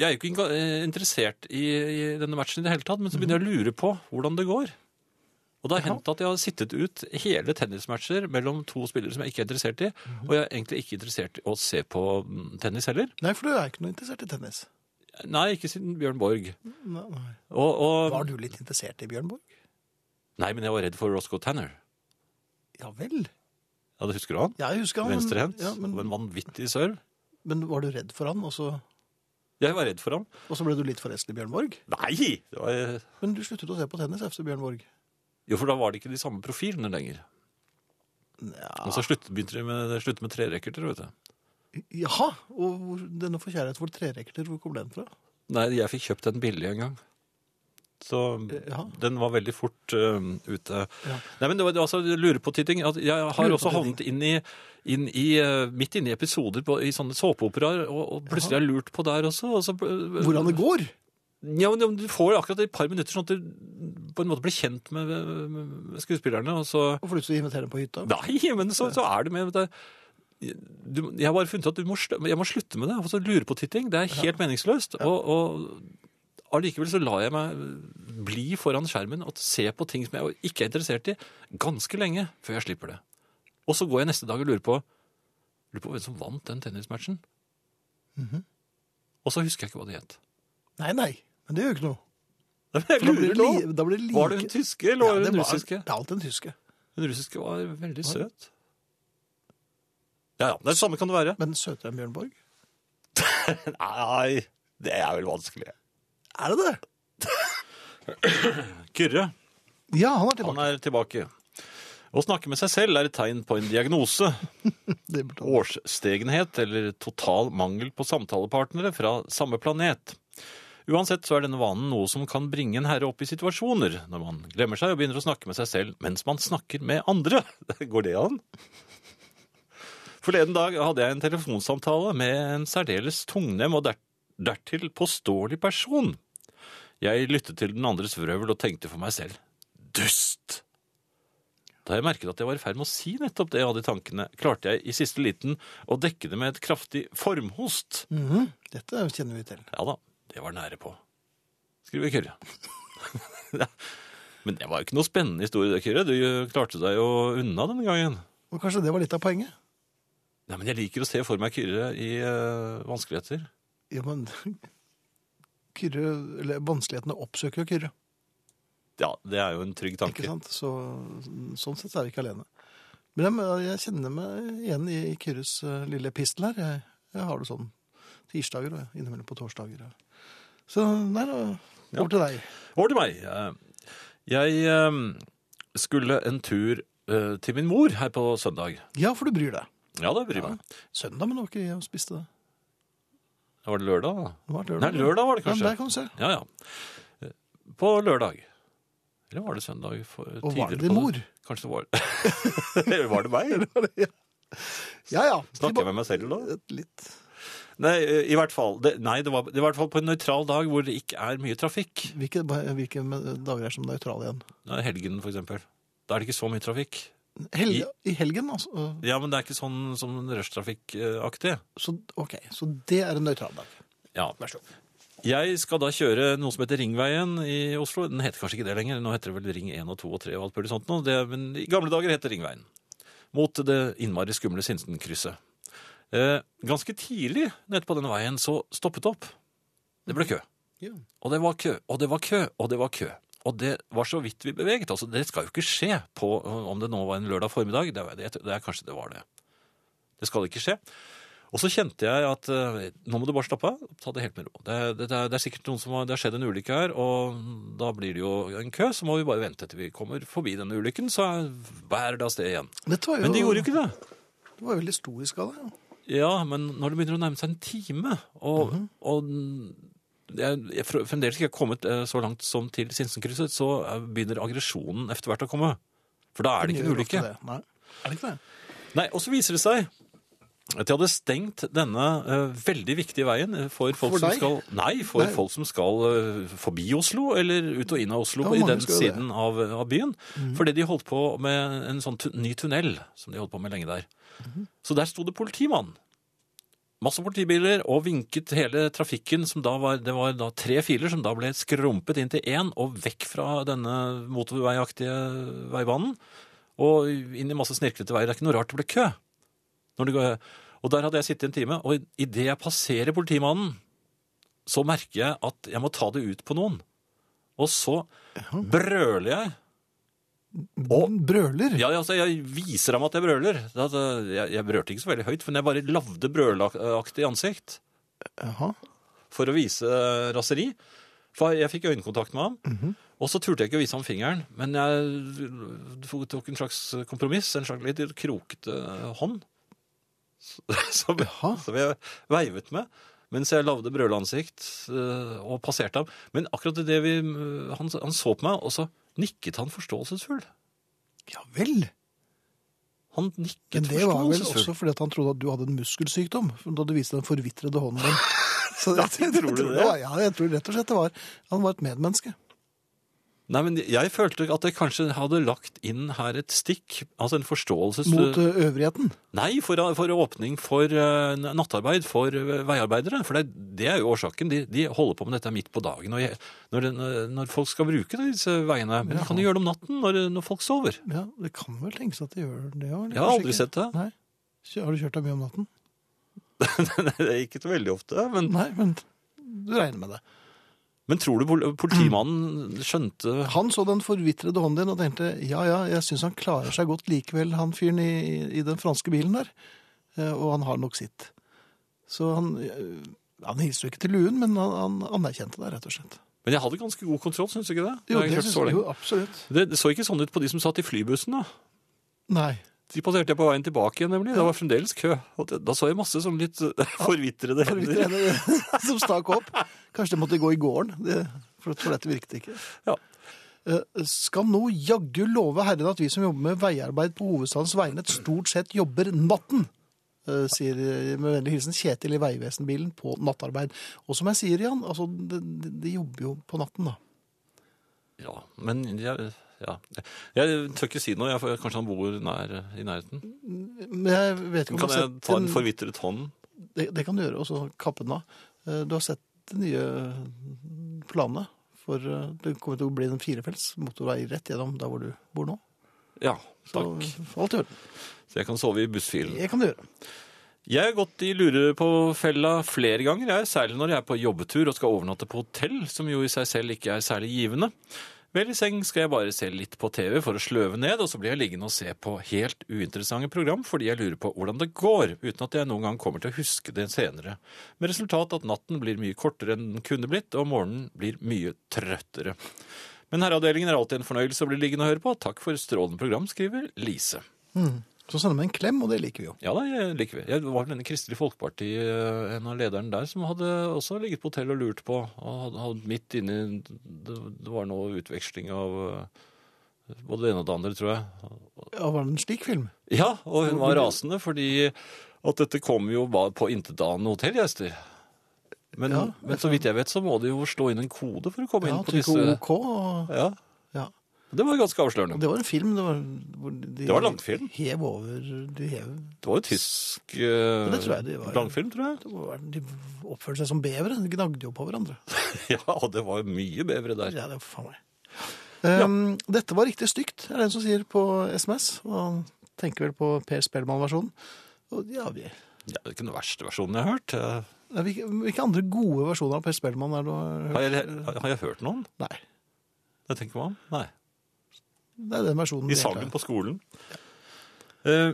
Jeg er jo ikke inga- eh, interessert i, i denne matchen i det hele tatt, men så begynner jeg å lure på hvordan det går. Og det har hendt at jeg har sittet ut hele tennismatcher mellom to spillere som jeg ikke er interessert i, og jeg er egentlig ikke interessert i å se på mm, tennis heller.
Nei, for du er ikke noe interessert i tennis.
Nei, ikke siden Bjørn Borg.
Nei, nei.
Og, og,
Var du litt interessert i Bjørn Borg?
nei, men jeg var redd for Roscoe Tanner.
Ja vel.
Ja, det husker du han?
Jeg husker han. men-
Venstrehendt.
Ja,
Og
men,
en vanvittig serve.
men var du redd for han, og så,
Jeg var redd for ham.
og så ble du litt forelsket i Bjørn Borg?
Nei! Det var...
Men du sluttet å se på tennis efter Bjørn Borg.
Jo, for da var det ikke de samme profilene lenger.
Nja.
Og så slutt, begynte de med, sluttet med trerekkerter, vet du.
Jaha, og hvor, denne for kjærlighet for trerekter, hvor kom den fra?
Nei, jeg fikk kjøpt den billig en gang. Så
Eh, ja.
den var veldig fort øhm, ute.
Ja.
Nei, men det var det var altså lurepåtitting. Altså, Jeg har også
Lurepåtitting.
havnet inn i, inn i øh, midt inne i episoder på, i sånne såpeoperaer, og, og plutselig har jeg lurt på der også. Og så, øh,
Hvordan det går?
Ja, men du får akkurat et par minutter sånn at du på en måte blir kjent med, med, med skuespillerne, og så
Og får lyst til å invitere dem på hytta?
Nei, men så, så er det med det. Du, jeg har bare funnet at du må, sl- jeg må slutte med det. Altså, lure på titting, det er helt meningsløst. Og, og allikevel så lar jeg meg bli foran skjermen og se på ting som jeg ikke er interessert i, ganske lenge før jeg slipper det. Og så går jeg neste dag og lurer på, lurer på hvem som vant den tennismatchen.
Mhm.
Og så husker jeg ikke hva det
*laughs*
het.
Nei, nei, men det gjør jo ikke noe.
Jeg
For Da blir
lurer
det,
nå.
li, da blir det like...
Var det hun tyske, eller var
Ja,
det hun
var-
russiske?
Det er alltid en tyske.
Hun russiske var veldig søt. Ja, ja. Det samme kan det være.
Men søtere enn Bjørn Borg?
Nei, det er vel vanskelig.
Er det det?
Kyrre,
Ja, han er
han
tilbake.
er tilbake. Å snakke med seg selv er et tegn på en diagnose,
Det burde han.
årsstegenhet eller total mangel på samtalepartnere fra samme planet. Uansett så er denne vanen noe som kan bringe en herre opp i situasjoner, når man glemmer seg og begynner å snakke med seg selv mens man snakker med andre. *laughs* Går det an? Forleden dag hadde jeg en telefonsamtale med en særdeles tungnem og der dertil påståelig person. Jeg lyttet til den andres vrøvl og tenkte for meg selv dust! Da jeg merket at jeg var i ferd med å si nettopp det jeg hadde i tankene, klarte jeg i siste liten å dekke det med et kraftig formhost.
Mhm. Dette kjenner vi til.
Ja da, det var nære på. Skriver Kyrre. *laughs* Ja, Men det var jo ikke noe spennende historie, det, Kyrre. Du eh, klarte deg jo unna denne gangen.
Og kanskje det var litt av poenget?
Nei, men jeg liker å se for meg Kyrre i eh, vanskeligheter.
Ja, men... *laughs* Kyrre, eller vanskelighetene oppsøker jo Kyrre,
Ja, det er jo en trygg
ikke
tanke.
sant? Så, sånn sett er jeg ikke alene. Men jeg, jeg kjenner meg igjen i Kyrres eh, lille pistel her. Jeg, jeg har det sånn tirsdager og innimellom på torsdager. ja. Så nei, da, over til deg.
Over til meg. Eh, Jeg eh, skulle en tur eh, til min mor her på søndag.
Ja, for du bryr deg.
Ja, det bryr meg.
Søndag, men det var ikke jeg som spiste det.
Var det lørdag? da?
Det var
Nei, lørdag var
Ja,
det
men
kanskje.
der kan du se.
Ja, ja. På lørdag. Eller var det søndag? For,
Og var det
tidligere
din
på-
mor?
Kanskje det var Eller *laughs* var det meg?
*laughs* Ja, ja.
Snakker jeg med meg selv da?
Tilba- Litt.
Nei, i hvert fall, det, nei, det var det var i hvert fall på en nøytral dag hvor det ikke er mye trafikk.
Hvilke, hvilke dager er som nøytrale igjen?
Nei, Helgen, for eksempel. Da er det ikke så mye trafikk.
Helge, I, helgen, altså.
Ja, men det er ikke sånn som eh, en rushtrafikk-aktig.
Så, ok, så det er en nøytral dag.
Ja.
Vær så god.
Jeg skal da kjøre noe som heter Ringveien i Oslo. Den heter kanskje ikke det lenger. Nå heter det vel Ring 1 og 2 og 3 og alt mulig sånt. nå. Det, men i gamle dager het det Ringveien. Mot det innmari skumle Sinsenkrysset. Eh, ganske tidlig nede på denne veien så stoppet det opp. Det ble kø.
Ja.
Og det var kø, og det var kø, og det var kø. Og det var så vidt vi beveget. Altså, det skal jo ikke skje på om det nå var en lørdag formiddag. Det, er- det, er- det er kanskje det var det. Det skal ikke skje. Og så kjente jeg at eh, nå må du bare slappe av. Ta det helt med ro. Det, det, det, er, det er sikkert noen som har, det har skjedd en ulykke her, og da blir det jo en kø. Så må vi bare vente til vi kommer forbi denne ulykken, så bærer det av sted igjen.
Dette var jo,
Men de gjorde jo ikke det.
Det var jo veldig stor i skala. Ja.
Ja, men når det begynner å nærme seg en time, og, og jeg, jeg fr- fremdeles ikke har kommet eh, så langt som til Sinsenkrysset, så eh, begynner aggresjonen etter hvert å komme. For da er det ikke
Gjør
en ulykke.
ofte det. Nei. Er det ikke det?
Nei, og så viser det seg at de hadde stengt denne eh, veldig viktige veien eh, for folk
For
som
deg?
skal Nei, for
Nei.
folk som skal eh, forbi Oslo, eller ut og inn av Oslo,
Ja,
i
mange
den
skal jo det.
siden av, av byen. Fordi de holdt på med en sånn tu ny tunnel, som de holdt på med lenge der. Så der sto det politimann. Masse politibiler, og vinket hele trafikken, som da var, det var da tre filer, som da ble skrumpet inn til én, og vekk fra denne motorveiaktige veibanen, og inn i masse snirklete veier. Det er ikke noe rart det ble kø. Når det går, og der hadde jeg sittet en time, og idet jeg passerer politimannen, så merker jeg at jeg må ta det ut på noen. Og så brøler jeg.
Brøler.
Ja, ja, altså, jeg viser ham at jeg brøler. Det at, eh, Jeg, jeg brølte ikke så veldig høyt, men jeg bare lavde brølaktig ansikt
Jaha.
for å vise raseri. For jeg fikk øyekontakt med ham. Og så turte jeg ikke å vise ham fingeren, men jeg tok en slags kompromiss, en slags litt krokete hånd, *laughs* som,
Jaha.
som jeg veivet med. Mens jeg lagde brølansikt eh, og passerte ham. Men akkurat det vi, han, han så på meg, og så nikket han forståelsesfull.
Ja vel.
Han nikket
Men det var vel
forståelsesfull.
også fordi at han trodde at du hadde en muskelsykdom, da du viste den forvitrede hånden
*laughs*
din. Så jeg, *laughs* jeg,
tror du
tror
det?
var, ja, jeg tror rett og slett det var Han var et medmenneske.
Nei, men jeg følte at jeg kanskje hadde lagt inn her et stikk, altså en forståelses...
Mot ø, øvrigheten.
Nei, for, for åpning for eh, nattarbeid for eh, veiarbeidere. For det, det er jo årsaken. De, de holder på med dette midt på dagen. Og jeg, når, den, eh, når folk skal bruke disse veiene. Men de kan jo gjøre det om natten når, når folk sover.
Ja, Det kan vel tenkes at de gjør det òg?
Jeg har aldri sett *laughs* det.
Nei. Kjø- Har du kjørt deg mye om natten?
Det er Ikke så veldig ofte. Men,
Nei, men du regner med det.
men tror du pol- politimannen skjønte
Han så den forvitrede hånden din og tenkte ja, ja, jeg syns han klarer seg godt likevel, han fyren i, i den franske bilen der. Eh, Og han har nok sitt. Så han, eh, han hilste jo ikke til luen, men han, han anerkjente det, rett og slett.
Men jeg hadde ganske god kontroll, syns du ikke det?
Jo,
Jeg har
det
kjørt
synes
så
jeg
lenge.
jo absolutt.
det, det så ikke sånn ut på de som satt i flybussen, da.
Nei.
De passerte jeg på veien tilbake igjen, nemlig. Det var fremdeles kø. Og det, da så jeg masse sånn litt eh, forvitrede
*laughs*
hender.
Forvitrede *laughs* som stakk opp. Kanskje det måtte gå i gården, det, for, for dette virket ikke.
Ja.
Eh, Skal nå jaggu love Herren at vi som jobber med veiarbeid på hovedstadens vegne, stort sett jobber natten, eh, sier eh, med vennlig hilsen Kjetil i Vegvesenbilen på nattarbeid. Og som jeg sier, Jan, altså, de, de- de jobber jo på natten, da.
Ja, men jeg, ja. jeg tør ikke si noe. Jeg, får- kanskje han bor nær, i nærheten.
Men jeg vet ikke om
Kan
du har
jeg
sett
ta en
den-
forvitret hånd?
det, det kan du gjøre, og så kappe den av. Eh, Du har sett de nye planene. For eh, det kommer til å bli en firefelts motorvei rett gjennom der hvor du bor nå.
Ja,
Så
takk.
alt i orden.
Så jeg kan sove i bussfilen.
Det kan du gjøre.
Jeg har gått i lurepåfella flere ganger, jeg, særlig når jeg er på jobbetur og skal overnatte på hotell, som jo i seg selv ikke er særlig givende. Vel, i seng skal jeg bare se litt på TV for å sløve ned, og så blir jeg liggende og se på helt uinteressante program fordi jeg lurer på hvordan det går, uten at jeg noen gang kommer til å huske det senere. Med resultat at natten blir mye kortere enn den kunne blitt, og morgenen blir mye trøttere. Men Herreavdelingen er alltid en fornøyelse å bli liggende og høre på. Takk for strålende program, skriver Lise.
Så sender vi en klem, og det liker vi jo.
Ja da, jeg liker det. Jeg var vel en Kristelig Folkeparti, eh, en av lederen der, som hadde også ligget på hotell og lurt på. Og hadde, hadde midt inni det, det var noe utveksling av eh, både det ene og det andre, tror jeg.
Ja, var det en slik film?
Ja, og hun var rasende fordi at dette kom jo bare på intetanende hotellgjester. Men,
Ja,
men så vidt jeg vet, så må de jo slå inn en kode for å komme
Ja,
inn på
trykk
disse
OK. Og,
Ja,
ja.
Det var ganske
Og
avslørende.
det var en film. Det var, hvor de,
Det var langfilm.
Hev over De hev
Det var jo tysk eh,
det tror jeg de var.
langfilm, tror jeg.
det var- De oppførte seg som bevere. De gnagde jo på hverandre.
Ja, og det var jo mye bevere der.
Ja, det var faen meg. Um, Dette var riktig stygt, er det en som sier på SMS. Og han tenker vel på Per Spellemann-versjonen. Og Ja, vi,
Ja, det er ikke den verste versjonen jeg har hørt. Eh,
ja, hvilke, hvilke andre gode versjoner av Per Spellemann er det du har hørt?
Har jeg, har jeg hørt noen?
Nei.
Det tenker man. Nei.
Det er den versjonen.
I
vi egentlig
sangen på skolen. Eh,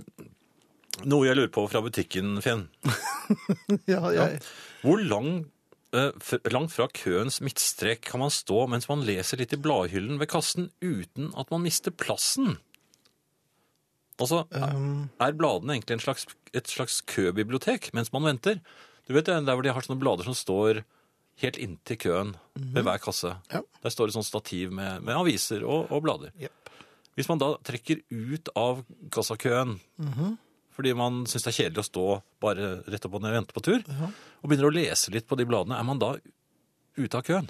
noe jeg lurer på fra butikken, Finn.
har. Ja, jeg,
Hvor lang, eh, f langt fra køens midtstrek kan man stå mens man leser litt i bladhyllen ved kassen uten at man mister plassen? Altså, er-
Um.
er bladene egentlig en slags, et slags købibliotek mens man venter? Du vet det, der hvor de har sånne blader som står helt inntil køen ved hver kasse.
Mhm. Ja.
Der står det sånn stativ med, med aviser og, og blader.
Jep.
Hvis man da trekker ut av kassakøen, for fordi man syns det er kjedelig å stå bare rett opp og ned og vente på tur, og begynner å lese litt på de bladene, er man da ute av køen?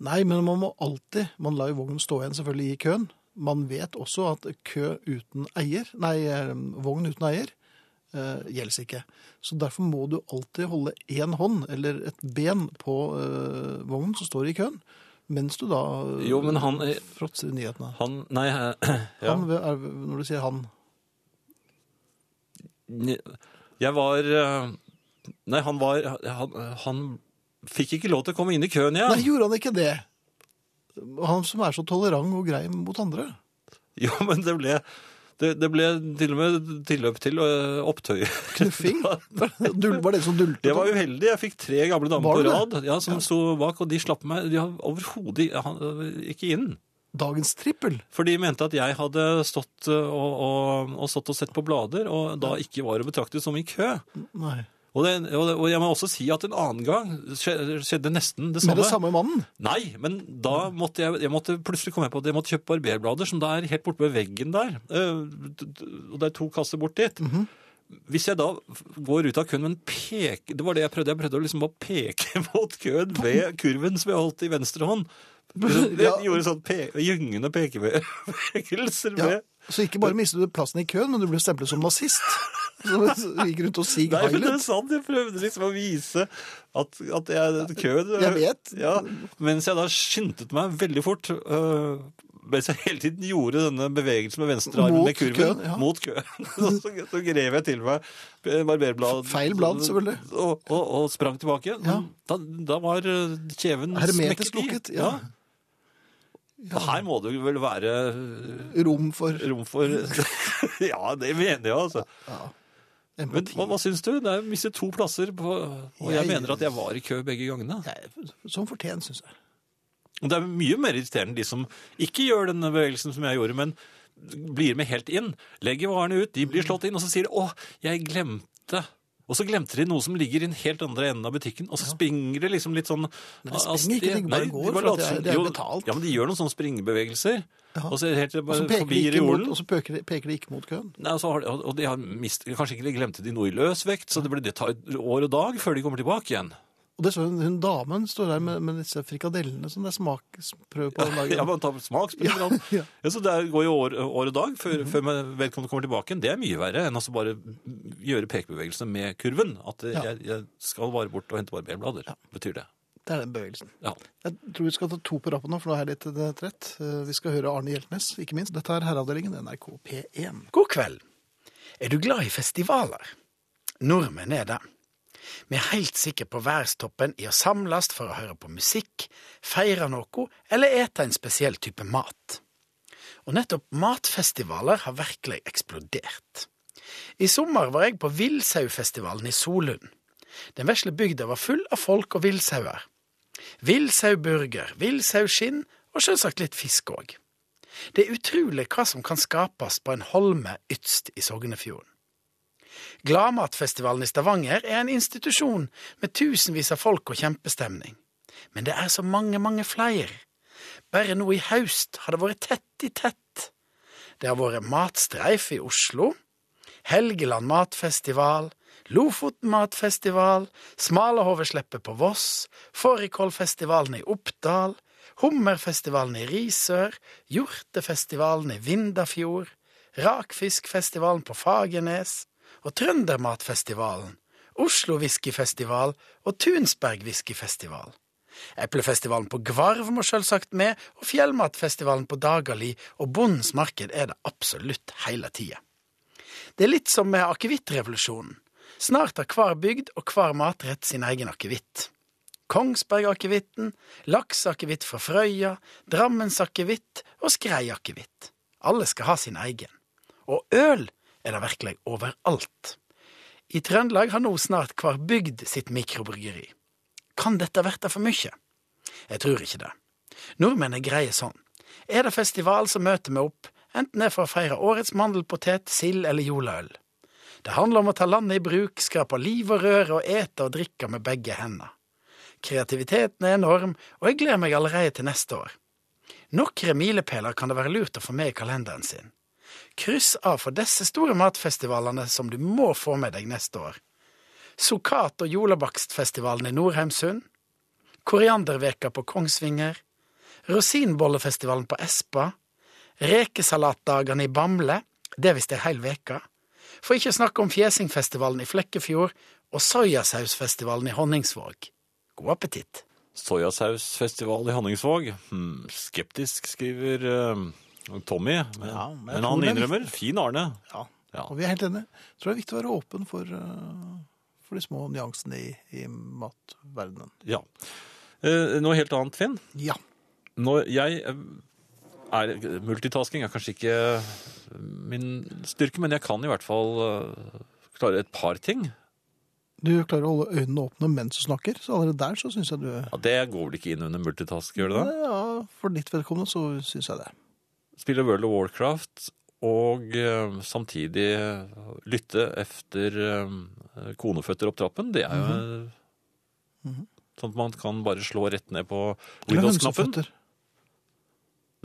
Nei, men man må alltid Man lar jo vognen stå igjen selvfølgelig i køen. Man vet også at kø uten eier, nei, eh, vogn uten eier eh, gjelder ikke. Så derfor må du alltid holde én hånd eller et ben på eh, vognen som står i køen, mens du da eh,
Jo, men han, eh,
fråtser i nyhetene.
Han Nei, eh, ja.
Han, eh, er, når du sier han
*clears throat* Jeg var eh, Nei, han var Han, han fikk ikke lov til å komme inn i køen igjen.
Nei, gjorde han ikke det? Han som er så tolerant og grei mot andre.
*laughs*
*laughs*
Jo, men det ble det, det ble til og med tilløp til eh, opptøyer. *laughs*
Knuffing. Dull- Var det som dulte?
Jeg var uheldig. Jeg fikk tre gamle damer
Var
på
du
rad ja, som sto bak, og de slapp meg de har overhodet han, eh, ikke inn.
Dagens trippel.
For de mente at jeg hadde stått eh, og, og, og, stått og sett på blader, og da ikke var å betrakte som i kø.
Nei.
Og, det, og, det, og jeg må også si at en annen gang skje- skjedde nesten
Med
det samme.
det samme mannen.
Nei, men da måtte jeg, jeg måtte plutselig komme på at jeg måtte kjøpe barberblader, som da er helt borte ved veggen der. Eh, d- d- Og det er to kasser bort dit.
Mhm.
Hvis jeg da f- går ut av køen, men peker Det var det jeg prøvde. Jeg prøvde å liksom bare peke *laughs* mot køen ved kurven som jeg holdt i venstre
*laughs*
hånd. Jeg
Ja.
gjorde sånn pe gyngende pekebevegelser
Ja.
med
Så ikke bare mistet du plassen i køen, men du ble stemplet som nazist. Som gikk rundt og sig
Nei, men det
heilet.
er sant. Jeg prøvde liksom å vise at, at jeg at køen
Jeg vet.
Ja, mens jeg da skyndte meg veldig fort. øh, mens jeg hele tiden gjorde denne bevegelsen med venstre arm
Mot
med kurven.
køen, ja.
Mot køen. *laughs* Så, så, så grev jeg til meg barberblad.
Feil blad, selvfølgelig.
Og, og, og sprang tilbake.
Ja.
Da, da var øh, kjeven
Hermetisk
smekket i.
lukket, ja.
Her må det vel være
Rom for
rom for *laughs* Ja, det mener jeg, altså. Men
empati.
hva, hva syns du? Det er mistet to plasser, på, og jeg
Jeg-
mener at jeg var i kø begge gangene.
Nei, Som fortjent, synes jeg.
Og det er mye mer irriterende de som ikke gjør denne bevegelsen som jeg gjorde, men blir med helt inn, legger varene ut, de blir slått inn, og så sier de 'Å, jeg glemte'. Og så glemte de noe som ligger i den helt andre enden av butikken, og så springer det liksom litt sånn
Men det springer ikke, de bare går, for at
later
det er-
som-
det er
jo,
betalt.
Ja, men de gjør noen sånne springebevegelser,
Ja.
og så er det helt
Og så
bare
peker, de
forbi
ikke mot,
reolen.
og så peker, de, peker de ikke mot køen.
Nei, og så har de, og de har mist, kanskje ikke de glemte de noe i løsvekt, så det, blir, det tar år og dag før de kommer tilbake igjen.
Og det står hun, hun damen står der med, med disse frikadellene som det er smaksprøve på den dagen.
Ja, man tar smaksprøver. og alt.
ja.
ja, så det går jo år, år og dag før, før man vedkommende kommer tilbake igjen. Det er mye verre enn altså bare gjøre pekebevegelsene med kurven. At eh,
Ja.
jeg, jeg skal bare bort og hente barberblader, betyr det.
Det er den bevegelsen.
Ja.
Jeg tror vi skal ta to på rappen nå, for nå er jeg litt eh, trett. Eh, Vi skal høre Arne Hjeltnes, ikke minst. Dette er Herreavdelingen NRK P1.
God kveld. Er du glad i festivaler? Nordmenn er det. Vi er helt sikre på værstoppen i å samles for å høre på musikk, feire noe eller ete en spesiell type mat. Og nettopp matfestivaler har virkelig eksplodert. I sommer var jeg på Villsaufestivalen i Solund. Den vesle bygda var full av folk og villsauer. Villsauburger, villsauskinn og selvsagt litt fisk òg. Det er utrolig hva som kan skapes på en holme ytst i Sognefjorden. Gladmatfestivalen i Stavanger er en institusjon med tusenvis av folk og kjempestemning. Men det er så mange, mange flere. Bare nå i haust har det vært tett i tett. Det har vært matstreif i Oslo, Helgeland matfestival, Lofoten matfestival, Smalahove-sleppet på Voss, Fårikålfestivalen i Oppdal, Hummerfestivalen i Risør, Hjortefestivalen i Vindafjord, Rakfiskfestivalen på Fagernes og Trøndermatfestivalen, Oslo Whiskyfestival og Tunsberg Whiskyfestival. Eplefestivalen på Gvarv må selvsagt med, og Fjellmatfestivalen på Dagali og Bondens Marked er det absolutt hele tida. Det er litt som med akevittrevolusjonen. Snart har hver bygd og hver matrett sin egen akevitt. Kongsbergakevitten, lakseakevitt fra Frøya, Drammensakevitt og Skreiakevitt. Alle skal ha sin egen. Og øl er det virkelig overalt. I Trøndelag har nå snart hver bygd sitt mikrobryggeri. Kan dette verte for mye? Jeg tror ikke det. Nordmenn er greie sånn. Er det festival, så møter vi opp, enten det er for å feire årets mandelpotet, sild eller jolaøl. Det handler om å ta landet i bruk, skrape liv og røre og ete og drikke med begge hendene. Kreativiteten er enorm, og jeg gleder meg allerede til neste år. Nokre milepæler kan det være lurt å få med i kalenderen sin. Kryss av for disse store matfestivalene som du må få med deg neste år. Sokat- og jolabakstfestivalen i Norheimsund, Korianderveka på Kongsvinger, Rosinbollefestivalen på Espa, Rekesalatdagene i Bamble, det hvis det er heil veka, for ikke å snakke om Fjesingfestivalen i Flekkefjord og Soyasausfestivalen i Honningsvåg. God appetitt!
Soyasausfestival i Honningsvåg. Hmm, skeptisk, skriver eh, Tommy. Men,
Ja, men jeg
men
tror
han
det er
innrømmer. Fin Arne.
Ja.
Ja.
Og vi er helt enige. Jeg tror det er viktig å være åpen for, eh, for de små nyansene i, i matverdenen.
Ja. Eh, noe helt annet, Finn.
Ja.
Når jeg eh, er, multitasking er kanskje ikke eh, min styrke, men jeg kan i hvert fall eh, klare et par ting.
Du klarer å holde øynene åpne mens du snakker, så allerede der så syns jeg du
Ja, det går vel ikke inn under multitask, gjør det det?
Ja, for ditt vedkommende så syns jeg det.
Spille World of Warcraft og eh, samtidig eh, lytte efter eh, koneføtter opp trappen, det er jo eh, Sånn at man kan bare slå rett ned på
Eller
Windows-knappen.
hønseføtter.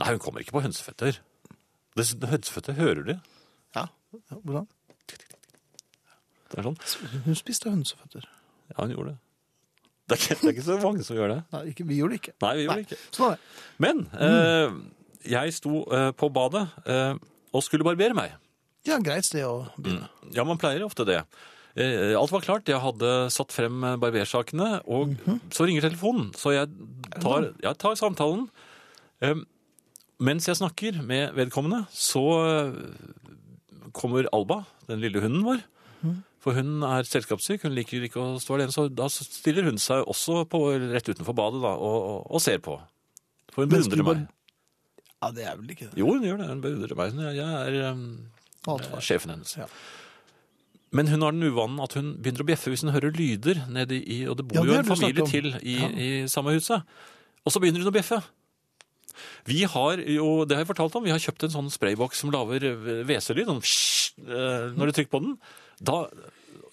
Nei, hun kommer ikke på hønseføtter. Det, hønseføtter hører de.
Ja. ja hvordan?
Det er sånn.
Hun spiste hønseføtter.
Ja, hun gjorde det. Det er, ikke, det er ikke så mange som gjør det.
Nei, ikke, vi gjorde det ikke.
Nei, vi gjorde
Nei.
ikke.
Sånn er det.
Men eh, jeg sto eh, på badet eh, og skulle barbere meg.
Ja, greit sted å begynne.
Ja, man pleier ofte det. Eh, alt var klart, jeg hadde satt frem eh, barbersakene, og
Mhm.
så ringer telefonen. Så jeg tar, jeg tar samtalen. Eh, mens jeg snakker med vedkommende, så eh, kommer Alba, den lille hunden vår.
Mhm.
For hun er selskapssyk, hun liker ikke å stå alene. Så da stiller hun seg også på, rett utenfor badet da, og, og, og ser på. For hun
Mens du
beundrer meg. Mm.
Ja, det er vel ikke det.
Jo, hun gjør det. Hun beundrer meg. Jeg er eh,
Alt
Eh,
var.
sjefen hennes.
Ja.
Men hun har den uvanen at hun begynner å bjeffe hvis hun hører lyder nede i Og det bor
Ja, det
jo
har
en
du snakket
familie
om.
til i,
Ja.
i samme huset. Og så begynner hun å bjeffe. Vi har jo, det har jeg fortalt om, vi har kjøpt en sånn sprayboks som lager eh, hveselyd, sånn «hsj», eh, når du trykker på den. Da,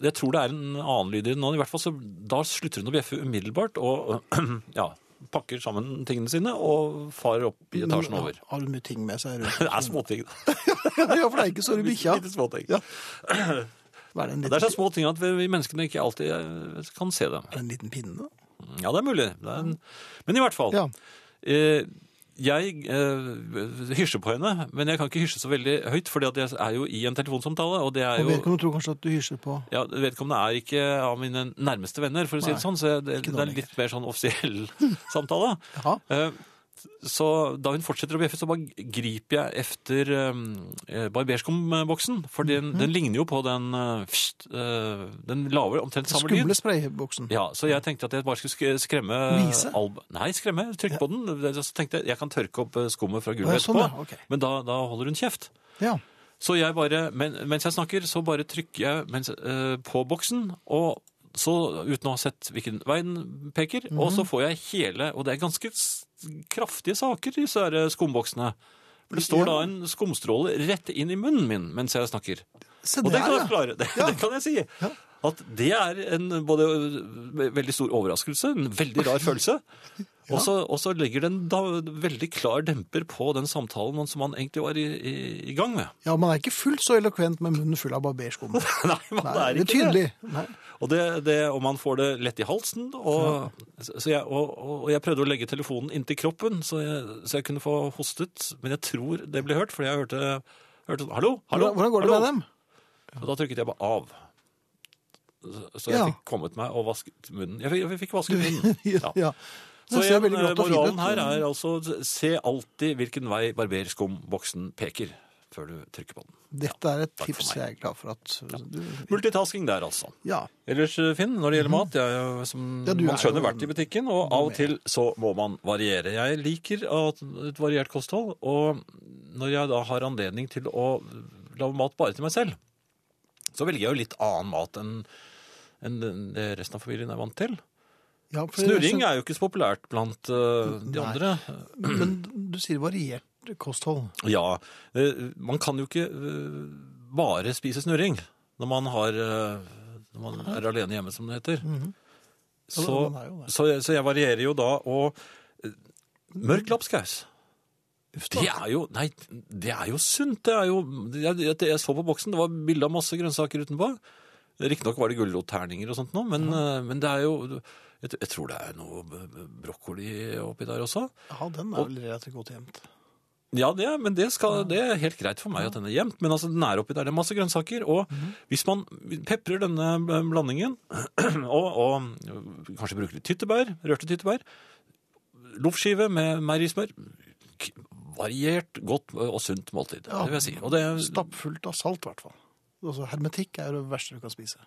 jeg tror det er en annen lyd i den nå, i hvert fall, så da slutter hun å bjeffe umiddelbart og *clears throat* ja, pakker sammen tingene sine og farer opp i etasjen
Ja,
sånn over.
Har du mye ting med seg rundt?
Det er småting.
*laughs* ja, for det er ikke så du
*laughs*
bikkja.
Bitte småting.
Ja. Hva er det, en
Det er så
liten,
små ting at vi vi menneskene ikke alltid eh, kan se dem.
er det en liten pinne?
Ja, det er mulig. Det er en... Men i hvert fall.
Ja.
Eh, jeg eh, hysjer på henne, men jeg kan ikke hysje så veldig høyt, fordi at jeg er jo i en telefonsamtale, og det er
Og
jo
vedkommende tror kanskje at du hysjer på
ja, vedkommende er ikke av mine nærmeste venner, for å si
Nei,
det sånn, så jeg, det,
ikke nå
det er litt mer sånn offisiell *laughs* samtale.
Jaha.
Eh, Så da hun fortsetter å bjeffe, så bare griper jeg efter eh, barberskomboksen.
Mhm.
For den, den ligner jo på den eh, fst, eh, Den lager omtrent samme lyd.
Skumle sprayboksen.
Ja, så jeg tenkte at jeg bare skulle sk- skremme
Vise?
Alba. Nei, skremme. Trykk på den. Så tenkte jeg jeg kan tørke opp eh, skummet
Å,
fra
ja,
gulvet
sånn,
etterpå.
ja, ok.
Men da, da holder hun kjeft.
Ja.
Så jeg bare, men, mens jeg snakker, så bare trykker jeg mens, eh, på boksen, og så uten å ha sett hvilken vei den peker,
Mhm.
og så får jeg hele, og det er ganske s- kraftige saker, disse her eh, skumboksene. For Det står
Ja.
da en skumstråle rett inn i munnen min mens jeg snakker.
Se
Og det
der,
kan jeg
ja.
forklare, det, det kan jeg si. At det er en både ø, veldig stor overraskelse, en veldig rar følelse,
*laughs*
og så- og så legger den da veldig klar demper på den samtalen man- som man egentlig var i, i, i gang med. *laughs*
ja, man er ikke fullt så eloquent med munnen full av barberskum. Nei,
Nei, man er
det er
ikke det.
tydelig. Nei.
Og, det, det, og man får det lett i halsen. Og, så jeg, og, og og jeg prøvde å legge telefonen inntil kroppen, så jeg, så jeg kunne få hostet. Men jeg tror det ble hørt, for jeg hørte, hørte sånn Hallo? hallo
Hvordan, hvordan går det
hallo?
med dem? *laughs*
Og da trykket jeg bare av. Så- Så jeg
Ja.
fikk kommet meg og vasket munnen. Jeg fikk, jeg fikk vasket munnen.
*laughs* Ja. ja.
Så
Det ser
igjen,
veldig grått og fint
moralen
ut.
her er altså se alltid hvilken vei barberskumboksen peker før du trykker på den.
Dette er et
takk for
tips
meg.
jeg er glad for at du
Multitasking der, altså.
Ja.
Ellers, Finn, når det gjelder mat, jeg er jo, som
Ja, du
man
er
skjønner,
jo-
vært i butikken, og av og til så må man variere. Jeg liker at- et variert kosthold, og når jeg da har anledning til å lage mat bare til meg selv, så velger jeg jo litt annen mat enn enn det resten av familien er vant til.
ja for-
Snurring er jo ikke så populært blant eh, de
Nei.
andre. *clears throat*
Men du sier variert kosthold.
Ja, eh, man kan jo ikke eh, bare spise snurring når man, har, eh, når man er alene hjemme, som det heter.
Mhm. Ja,
så,
man er jo det.
så, jeg, så jeg varierer jo da, og eh, mørk lapskaus
Uff da.
Det er jo Nei, det er jo sunt. Det er jo Jeg, jeg, jeg så på boksen, det var bilde av masse grønnsaker utenpå. Riktignok var det gulrotterninger og sånt nå, men, eh, men det er jo jeg, jeg tror det er noe b- b- brokkoli oppi der også.
Ja, den er vel relativt godt gjemt.
Ja, det, er- men det, skal, det er helt greit for meg at den er gjemt. Men altså, den er oppi der. Det er masse grønnsaker. Og hvis man peprer denne bl- blandingen, *clears throat* og, og kanskje bruker litt tyttebær, rørte tyttebær, loffskive med meierismør k- Variert, godt øh, og sunt måltid.
Ja.
Det vil jeg si. Og det,
Stappfullt av salt, i hvert fall. Altså, hermetikk er jo det verste du kan spise.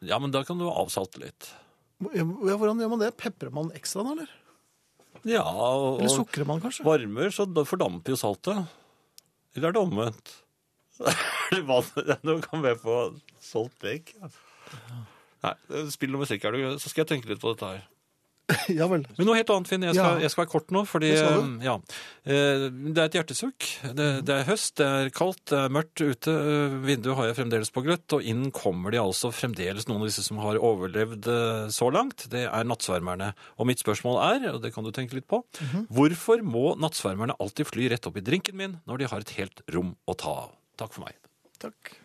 ja, men da kan du avsalte litt.
Ja, Hvordan gjør man det? Peprer man ekstra nå, eller?
Ja, og,
Eller
og
sukrer man kanskje?
varmer, så da fordamper jo saltet. Eller er det omvendt? Er det vann? *laughs*
Nå kan vi få solgt vekk.
Nei, spill noe musikk, er du, så skal jeg tenke litt på dette her.
*laughs* Ja vel.
Men noe helt annet, Finn. Jeg skal,
Ja.
jeg skal være kort nå, fordi
Det skal
eh,
du.
ja. Eh, Det er et hjertesukk. Det, det er høst, det er kaldt, det er mørkt ute. Eh, Vinduet har jeg fremdeles på gløtt, og inn kommer de altså fremdeles noen av disse som har overlevd eh, så langt. Det er nattsvermerne. Og mitt spørsmål er, og det kan du tenke litt på,
Mhm.
hvorfor må nattsvermerne alltid fly rett opp i drinken min når de har et helt rom å ta av? Takk for meg.
Takk.